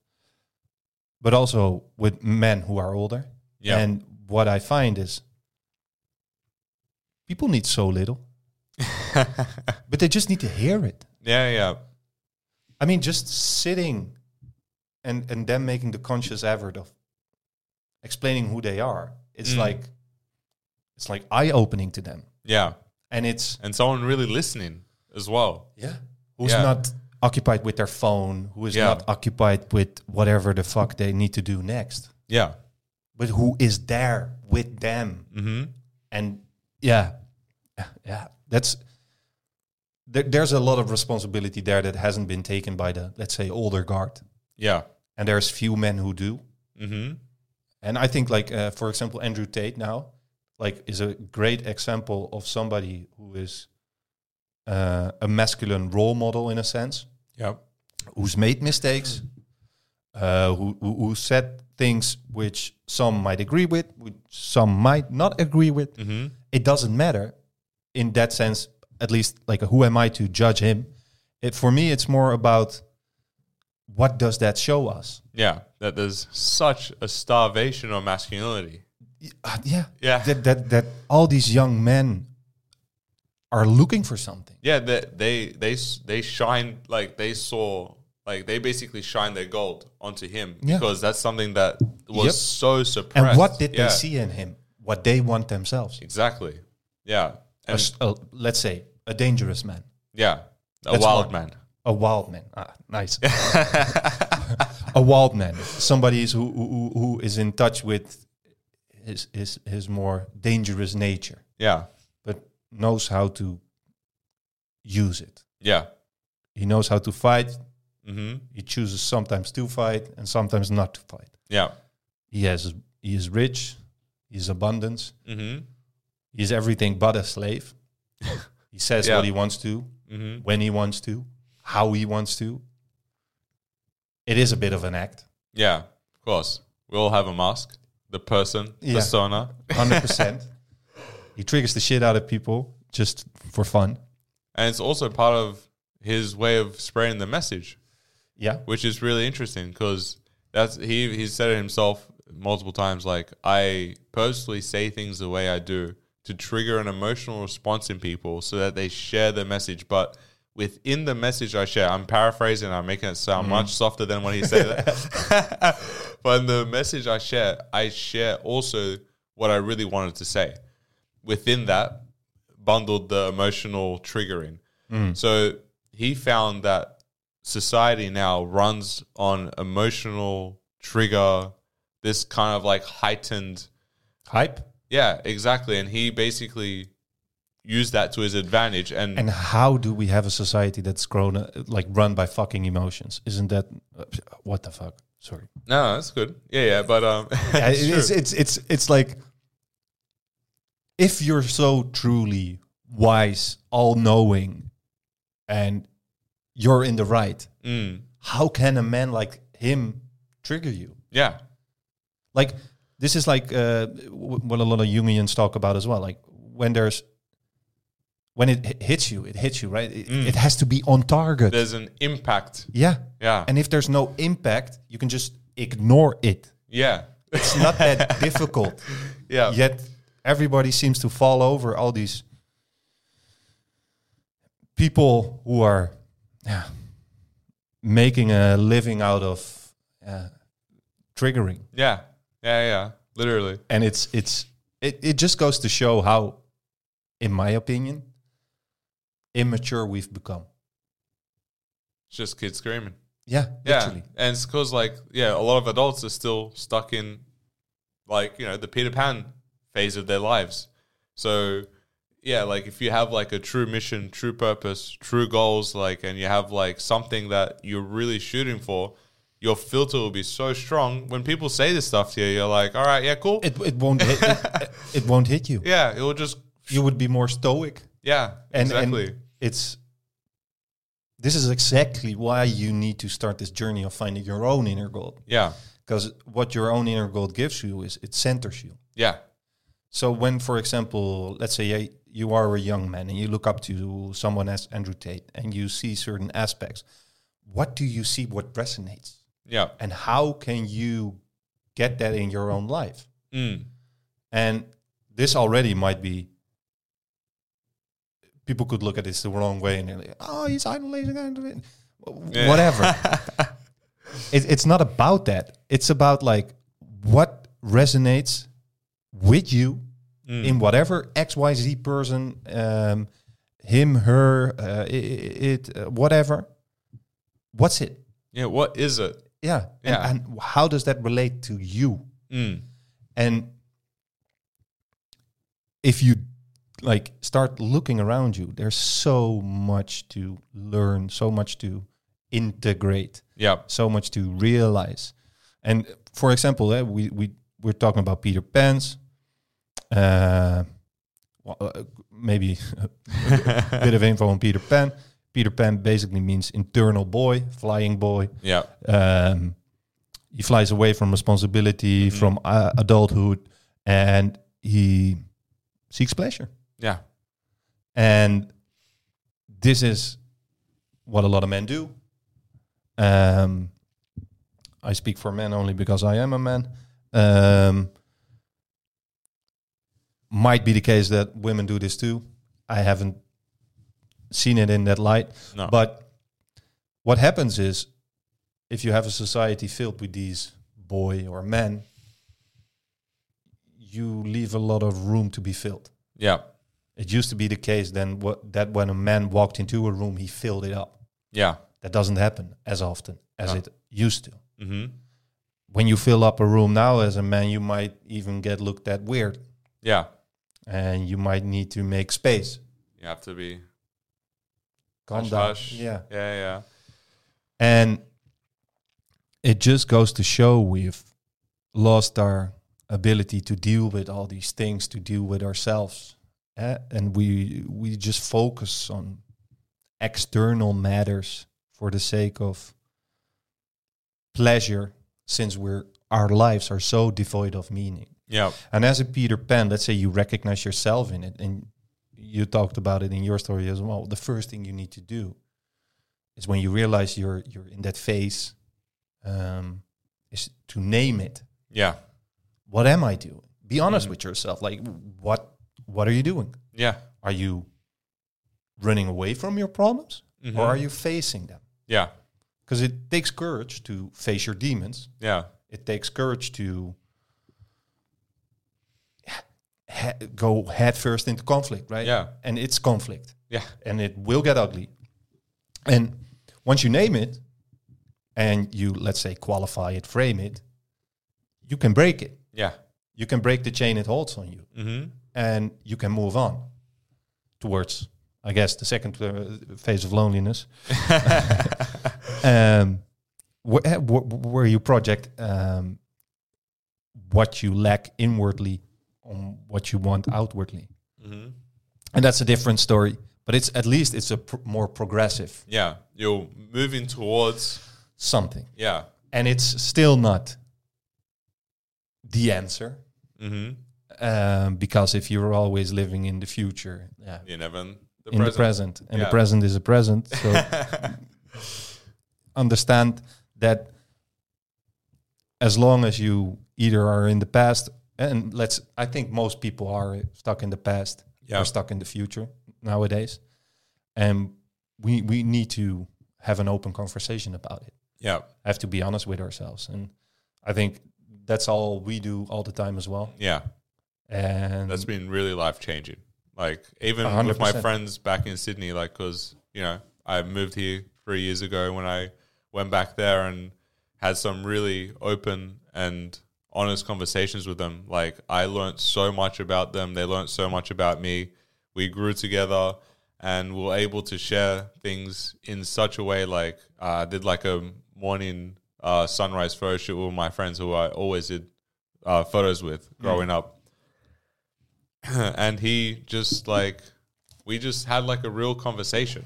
S2: but also with men who are older
S1: yeah,
S2: and what I find is people need so little but they just need to hear it
S1: yeah, yeah.
S2: I mean just sitting and and them making the conscious effort of explaining who they are it's
S1: Mm.
S2: like it's like eye opening to them
S1: Yeah,
S2: and it's
S1: and someone really listening as well.
S2: yeah who's
S1: Yeah.
S2: not occupied with their phone who is
S1: Yeah.
S2: not occupied with whatever the fuck they need to do next
S1: Yeah.
S2: but who is there with them
S1: hmm
S2: and yeah Yeah, yeah that's there, there's a lot of responsibility there that hasn't been taken by the let's say older guard
S1: Yeah.
S2: and there's few men who do
S1: hmm
S2: And I think, like uh, for example, Andrew Tate now, like is a great example of somebody who is uh, a masculine role model in a sense,
S1: Yeah.
S2: who's made mistakes, uh, who, who who said things which some might agree with, which some might not agree with.
S1: hmm
S2: It doesn't matter, in that sense. At least, like, who am I to judge him? It, for me, it's more about what does that show us?
S1: Yeah. That there's such a starvation of masculinity.
S2: Y- uh, Yeah,
S1: Yeah.
S2: that that that all these young men are looking for something.
S1: Yeah. That they they s- they shine like they saw like they basically shine their gold onto him
S2: Yeah.
S1: because that's something that was
S2: Yep.
S1: so suppressed.
S2: And what did
S1: Yeah,
S2: they see in him? What they want themselves.
S1: Exactly. Yeah.
S2: A
S1: And
S2: s- a- let's say a dangerous man,
S1: yeah, a
S2: That's
S1: wild
S2: one.
S1: man.
S2: a wild man. Ah, nice. a wild man, somebody is who, who who is in touch with his his his more dangerous nature,
S1: Yeah.
S2: but knows how to use it.
S1: Yeah.
S2: He knows how to fight.
S1: Mm-hmm.
S2: He chooses sometimes to fight and sometimes not to fight.
S1: Yeah.
S2: He has he is rich, he is abundance,
S1: Mm-hmm.
S2: he is everything but a slave. he says
S1: Yeah.
S2: what he wants to,
S1: Mm-hmm.
S2: when he wants to, how he wants to. It is a bit of an act,
S1: Yeah. Of course. We all have a mask. The person,
S2: Yeah.
S1: persona.
S2: hundred percent. He triggers the shit out of people just for fun.
S1: And it's also part of his way of spreading the message,
S2: Yeah,
S1: which is really interesting because that's he he's said it himself multiple times like I purposely say things the way I do to trigger an emotional response in people so that they share the message. But within the message I share, I'm paraphrasing, I'm making it sound much softer than what he said. but in the message I share, I share also what I really wanted to say. Within that, bundled the emotional trigger in. So he found that society now runs on emotional trigger, this kind of like heightened.
S2: hype.
S1: Yeah, exactly. And he basically used that to his advantage. And,
S2: And how do we have a society that's grown uh, like run by fucking emotions? Isn't that uh, what the fuck? Sorry.
S1: no, that's good. Yeah, yeah. But um,
S2: Yeah,
S1: it's
S2: it- it's,
S1: true.
S2: it's it's it's like if you're so truly wise, all knowing, and you're in the right,
S1: Mm,
S2: how can a man like him trigger you?
S1: yeah,
S2: Like this is like uh, w- what a lot of Jungians talk about as well. Like when there's when it hi- hits you, it hits you right. It, it has to be on target.
S1: there's an impact.
S2: yeah,
S1: Yeah.
S2: and if there's no impact, you can just ignore it.
S1: yeah.
S2: It's not that difficult.
S1: Yeah.
S2: yet everybody seems to fall over all these people who are yeah, making a living out of uh, triggering
S1: Yeah. Yeah. Yeah. Literally.
S2: and it's it's it, it just goes to show how in my opinion immature we've become
S1: It's just kids screaming.
S2: yeah
S1: Yeah,
S2: literally
S1: and it's because like yeah, a lot of adults are still stuck in like you know the Peter Pan phase of their lives. So yeah, like if you have like a true mission, true purpose, true goals, like and you have like something that you're really shooting for, your filter will be so strong. When people say this stuff to you, you're like, all right, yeah, cool,
S2: it, it won't hit, it, it won't hit you
S1: yeah, it will just
S2: you would be more stoic
S1: yeah,
S2: and,
S1: exactly,
S2: and it's this is exactly why you need to start this journey of finding your own inner gold
S1: yeah,
S2: because what your own inner gold gives you is it centers you
S1: yeah,
S2: so when for example let's say uh, you are a young man and you look up to someone as andrew tate and you see certain aspects what do you see what resonates
S1: yeah,
S2: and how can you get that in your own life
S1: mm,
S2: and this already might be people could look at this the wrong way and they're like, oh, he's idolizing, idolizing.
S1: Yeah.
S2: whatever. it, it's not about that. It's about like what resonates with you
S1: Mm.
S2: in whatever X Y Z person, um, him, her, uh, i- i- it, uh, whatever. What's it?
S1: yeah. What is it?
S2: Yeah. And-
S1: Yeah.
S2: and how does that relate to you?
S1: Mm,
S2: And if you like start looking around you, there's so much to learn, so much to integrate,
S1: yeah,
S2: so much to realize. And for example, eh, we we we're talking about Peter Pan's. Uh, well, uh, maybe a bit of info on Peter Pan. Peter Pan basically means internal boy, flying boy
S1: yeah,
S2: um, he flies away from responsibility, from uh, adulthood, and he seeks pleasure.
S1: yeah,
S2: And this is what a lot of men do. Um, I speak for men only because I am a man. Um, might be the case that women do this too. I haven't seen it in that light.
S1: No.
S2: But what happens is if you have a society filled with these boy or men, you leave a lot of room to be filled.
S1: yeah,
S2: It used to be the case then what, that when a man walked into a room, he filled it up.
S1: yeah.
S2: That doesn't happen as often as
S1: No.
S2: it used to.
S1: hmm
S2: When you fill up a room now as a man, you might even get looked at weird
S1: Yeah,
S2: and you might need to make space.
S1: you have to be
S2: Calm
S1: hush,
S2: down.
S1: hush.
S2: Yeah.
S1: yeah, yeah.
S2: And it just goes to show we've lost our ability to deal with all these things, to deal with ourselves. eh? And we we just focus on external matters for the sake of pleasure since we're our lives are so devoid of meaning.
S1: Yeah,
S2: And as a Peter Pan, let's say you recognize yourself in it, and you talked about it in your story as well. The first thing you need to do is when you realize you're you're in that phase, um, is to name it.
S1: yeah,
S2: What am I doing? Be honest with yourself. Like what what are you doing?
S1: yeah,
S2: Are you running away from your problems, or are you facing them?
S1: yeah,
S2: Because it takes courage to face your demons
S1: yeah,
S2: it takes courage to ha- go headfirst into conflict, right?
S1: Yeah.
S2: And it's conflict,
S1: yeah,
S2: and it will get ugly. And once you name it, and you let's say qualify it, frame it, you can break it.
S1: yeah.
S2: You can break the chain it holds on you,
S1: hmm
S2: and you can move on towards, I guess, the second uh, phase of loneliness, um, wh- eh, wh- where you project um, what you lack inwardly on what you want outwardly.
S1: hmm
S2: And that's a different story, but it's at least it's a pr- more progressive
S1: Yeah, you're moving towards.
S2: something,
S1: Yeah.
S2: and it's still not the answer.
S1: Mm-hmm.
S2: Um, because if you're always living in the future, yeah,
S1: You never in the
S2: in
S1: present.
S2: the present, and
S1: Yeah.
S2: the present is a present, so understand that as long as you either are in the past and let's i think most people are stuck in the past
S1: Yeah.
S2: or stuck in the future nowadays and we we need to have an open conversation about it
S1: yeah,
S2: have to be honest with ourselves and i think that's all we do all the time as well
S1: yeah.
S2: and
S1: That's been really life changing. Like even
S2: A hundred
S1: with my
S2: percent.
S1: friends back in Sydney, like because you know I moved here three years ago when I went back there and had some really open and honest conversations with them. Like I learnt so much about them. They learnt so much about me. We grew together and were able to share things in such a way. Like uh, I did like a morning uh, sunrise photo shoot with my friends who I always did uh, photos with
S2: Mm.
S1: growing up and he just like we just had like a real conversation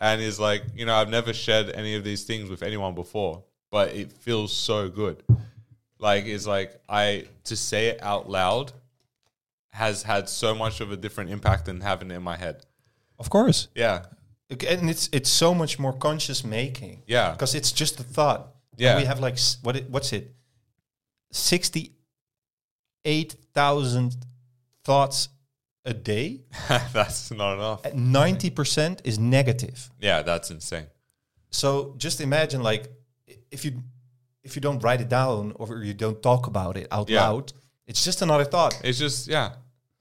S1: and is like you know i've never shared any of these things with anyone before but it feels so good like it's like i to say it out loud has had so much of a different impact than having it in my head
S2: of course
S1: yeah
S2: Okay, and it's it's so much more conscious making
S1: yeah
S2: because it's just a thought. And
S1: Yeah.
S2: we have like s- what? It, what's it? Sixty-eight thousand thoughts a day.
S1: that's not enough
S2: Ninety percent is negative.
S1: yeah that's insane
S2: So just imagine, like, i- if you if you don't write it down or you don't talk about it out
S1: Yeah.
S2: loud, it's just another thought,
S1: it's just yeah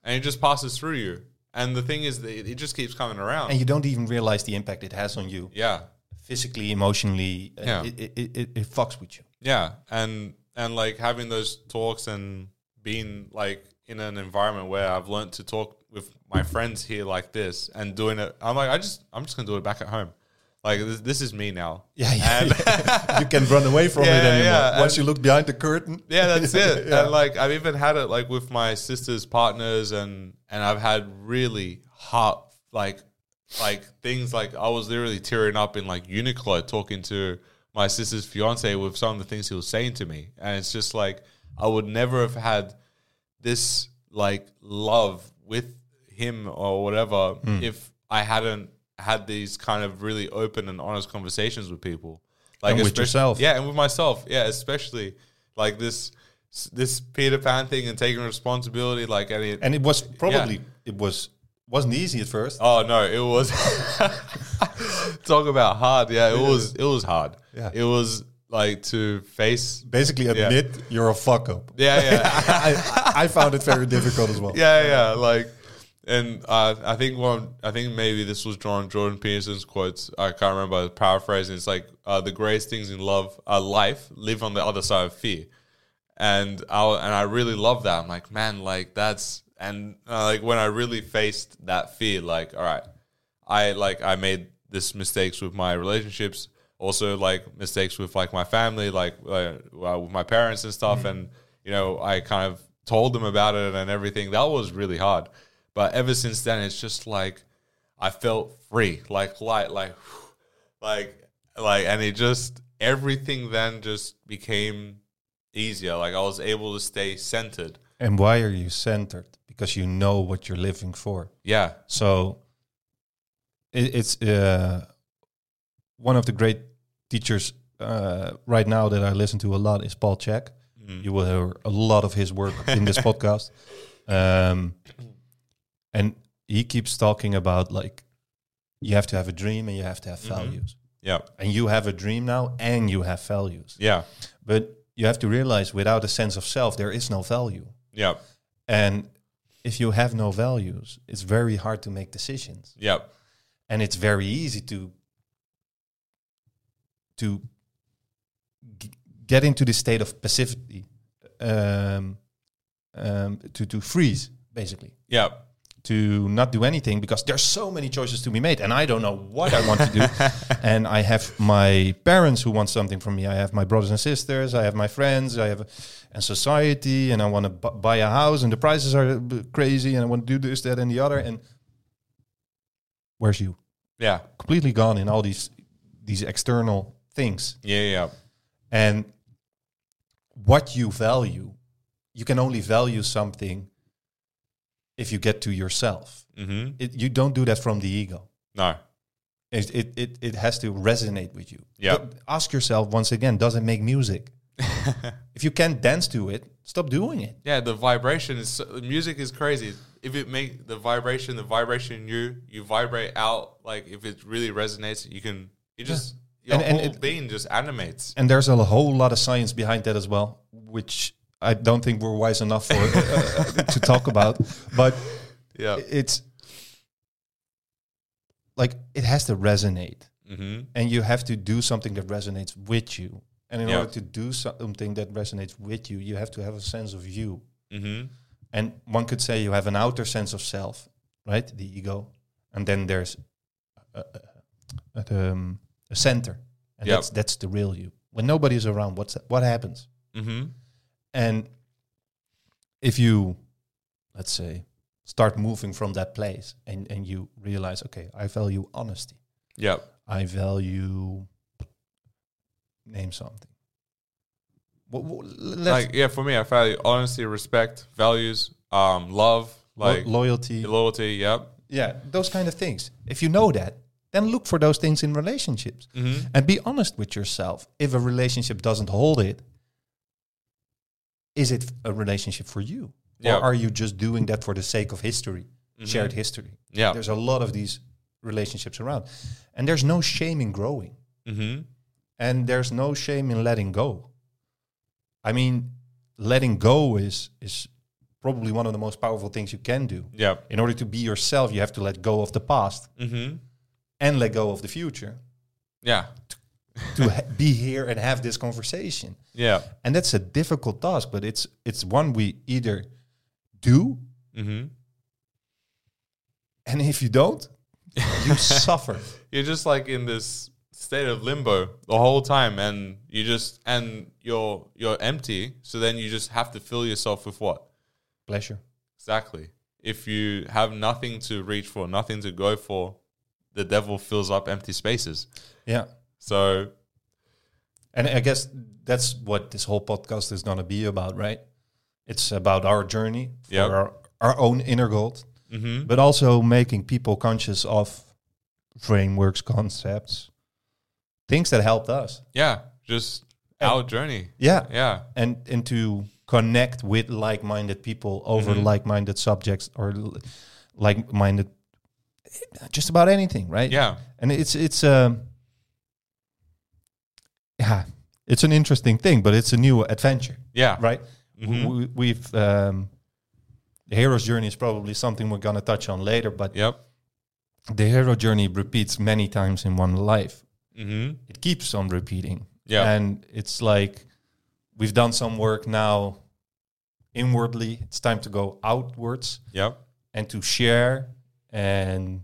S1: and it just passes through you and the thing is that it, it just keeps coming around
S2: and you don't even realize the impact it has on you
S1: yeah
S2: physically, emotionally. Uh,
S1: Yeah.
S2: It, it, it, it fucks with you.
S1: yeah and and like having those talks and being like in an environment where i've learned to talk with my friends here like this and doing it i'm like i just i'm just gonna do it back at home like this, this is me now
S2: Yeah, yeah.
S1: and
S2: you can run away from
S1: Yeah,
S2: it anymore.
S1: yeah,
S2: Once
S1: and-
S2: you look behind the curtain.
S1: yeah that's it and like i've even had it like with my sister's partners and and i've had really hot like like things like i was literally tearing up in like uniqlo talking to my sister's fiance with some of the things he was saying to me and it's just like i would never have had this like love with him or whatever
S2: Hmm.
S1: if i hadn't had these kind of really open and honest conversations with people like
S2: And with
S1: especially-
S2: yourself.
S1: yeah, and with myself, yeah, especially like this this Peter Pan thing and taking responsibility, like and it,
S2: and it was probably it was wasn't easy at first.
S1: oh no, it was talk about hard. Yeah, it was it was hard.
S2: Yeah.
S1: it was like to face.
S2: Basically, admit you're a fuck up.
S1: Yeah, yeah.
S2: I, I found it very difficult as well.
S1: yeah, yeah. Like, and uh, I think one, I think maybe this was drawn Jordan Peterson's quotes. I can't remember paraphrasing. It's like uh, the greatest things in love, uh, life, live on the other side of fear, and I and I really love that. I'm like, man, like that's and uh, like when I really faced that fear, like, all right, I like I made this mistakes with my relationships, also like mistakes with like my family, like uh, uh, with my parents and stuff, and you know I kind of told them about it and everything. That was really hard, but ever since then, it's just like I felt free, like light, like like like, and it just everything then just became easier. Like I was able to stay centered.
S2: And why are you centered? Because you know what you're living for.
S1: Yeah,
S2: So it, it's uh, one of the great teachers uh, right now that I listen to a lot is Paul Check. You will hear a lot of his work in this podcast. Um, and he keeps talking about like you have to have a dream and you have to have values.
S1: yeah,
S2: And you have a dream now and you have values.
S1: yeah,
S2: But you have to realize without a sense of self, there is no value.
S1: yeah,
S2: And if you have no values, it's very hard to make decisions
S1: yeah,
S2: and it's very easy to to g- get into the state of passivity um, um, to to freeze basically
S1: yeah.
S2: to not do anything because there's so many choices to be made and I don't know what I want to do and I have my parents who want something from me I have my brothers and sisters I have my friends I have and society and I want to bu- buy a house and the prices are b- crazy and I want to do this that and the other and where's you
S1: Yeah,
S2: completely gone in all these these external things
S1: yeah, yeah,
S2: and what you value you can only value something if you get to yourself
S1: Mm-hmm.
S2: it, you don't do that from the ego
S1: No.
S2: it, it, it, it has to resonate with you
S1: Yeah.
S2: But ask yourself once again does it make music if you can't dance to it stop doing it
S1: Yeah, the vibration is so, the music is crazy. If it make the vibration, the vibration in you, you vibrate out. Like if it really resonates, you can. You just your
S2: And- and
S1: whole
S2: it-
S1: being just animates.
S2: and there's a whole lot of science behind that as well, which I don't think we're wise enough for uh, to talk about. But
S1: Yeah.
S2: it's like it has to resonate,
S1: Mm-hmm.
S2: and you have to do something that resonates with you. And in
S1: Yeah.
S2: order to do something that resonates with you, you have to have a sense of you.
S1: Mm-hmm.
S2: And one could say you have an outer sense of self, right? The ego, and then there's a, a, a, um, a center, and
S1: Yeah.
S2: that's that's the real you. When nobody's around, what's what happens?
S1: Mm-hmm.
S2: And if you, let's say, start moving from that place and, and you realize, okay, I value honesty.
S1: Yeah.
S2: I value name something. What, what, let's,
S1: Like yeah, for me, I value honesty, respect, values, um, love,
S2: lo-
S1: like
S2: loyalty.
S1: loyalty. Yep.
S2: yeah, those kind of things. If you know that, then look for those things in relationships
S1: Mm-hmm.
S2: and be honest with yourself. If a relationship doesn't hold it, is it a relationship for you?
S1: Yeah.
S2: Or are you just doing that for the sake of history, shared history?
S1: Yeah.
S2: There's a lot of these relationships around. And there's no shame in growing.
S1: Mm-hmm.
S2: And there's no shame in letting go. I mean, letting go is is probably one of the most powerful things you can do.
S1: Yeah.
S2: In order to be yourself, you have to let go of the past
S1: Mm-hmm.
S2: and let go of the future
S1: Yeah.
S2: to ha- be here and have this conversation.
S1: Yeah.
S2: And that's a difficult task, but it's it's one we either do
S1: Mm-hmm.
S2: and if you don't, you suffer.
S1: you're just like in this state of limbo the whole time and you just and you're you're empty so then you just have to fill yourself with what
S2: Pleasure.
S1: exactly if you have nothing to reach for nothing to go for the devil fills up empty spaces
S2: Yeah.
S1: so
S2: And I guess that's what this whole podcast is going to be about, right? It's about our journey, for
S1: Yep.
S2: our, our own inner gold,
S1: mhm
S2: but also making people conscious of frameworks, concepts, things that helped us.
S1: yeah just our journey
S2: Yeah.
S1: yeah
S2: And, and to connect with like minded people over like minded subjects or like minded, just about anything, right?
S1: yeah
S2: and it's it's um yeah it's an interesting thing but it's a new adventure
S1: yeah
S2: right
S1: Mhm.
S2: we, we've um the hero's journey is probably something we're gonna touch on later, but
S1: Yep.
S2: the hero journey repeats many times in one life.
S1: Mm-hmm.
S2: It keeps on repeating.
S1: Yeah.
S2: And it's like we've done some work now inwardly. It's time to go outwards
S1: yep.
S2: and to share and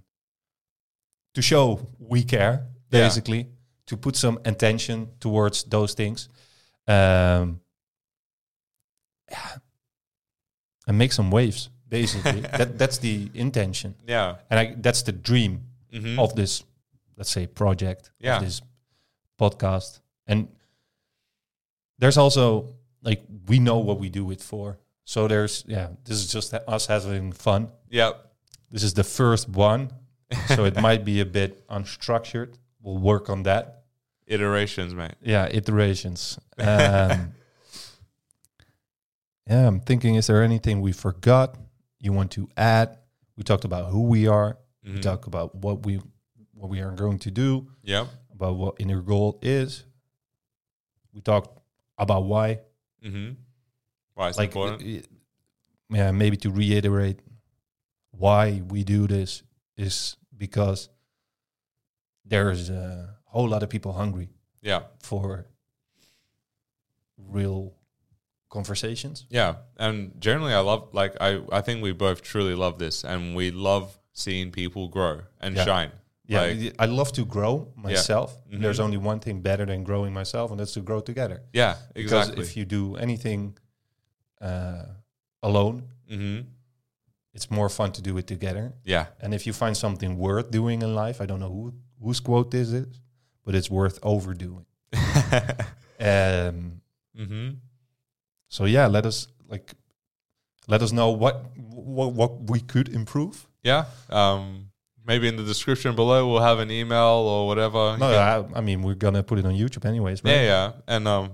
S2: to show we care,
S1: Yeah.
S2: basically, to put some attention towards those things. Um, yeah. And make some waves, basically. that, that's the intention.
S1: Yeah.
S2: And I, that's the dream
S1: Mm-hmm.
S2: of this, let's say, project,
S1: Yeah.
S2: of this podcast. And there's also like we know what we do it for. So there's yeah, this is just us having fun.
S1: Yep.
S2: This is the first one, so it might be a bit unstructured. We'll work on that.
S1: Iterations, mate.
S2: Yeah, iterations. Um, yeah, I'm thinking: is there anything we forgot? You want to add? We talked about who we are. We
S1: Mhm.
S2: talk about what we what we are going to do.
S1: Yep.
S2: about what inner goal is. We talked about why,
S1: Mm-hmm. Why it's
S2: like,
S1: important.
S2: uh, yeah, maybe to reiterate why we do this is because there is a whole lot of people hungry
S1: yeah.
S2: for real conversations.
S1: Yeah, and generally, I love like I I think we both truly love this, and we love seeing people grow and
S2: Yeah.
S1: shine.
S2: Yeah,
S1: Like-
S2: I love to grow myself.
S1: Mhm.
S2: There's only one thing better than growing myself, and that's to grow together.
S1: yeah,
S2: Because
S1: exactly.
S2: if you do anything uh, alone,
S1: mm-hmm.
S2: it's more fun to do it together.
S1: Yeah,
S2: And if you find something worth doing in life, I don't know who whose quote this is, but it's worth overdoing. Um,
S1: mm-hmm.
S2: so yeah, let us like let us know what what what we could improve.
S1: yeah. Um, maybe in the description below we'll have an email or whatever.
S2: No,
S1: yeah.
S2: I, I mean we're gonna put it on YouTube anyways. Right?
S1: yeah, yeah, and um,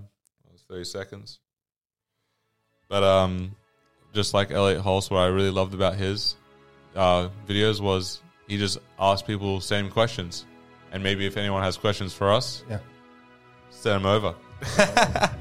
S1: that was thirty seconds. But um, just like Elliot Hulse, what I really loved about his uh, videos was he just asked people same questions, and maybe if anyone has questions for us,
S2: Yeah.
S1: send them over.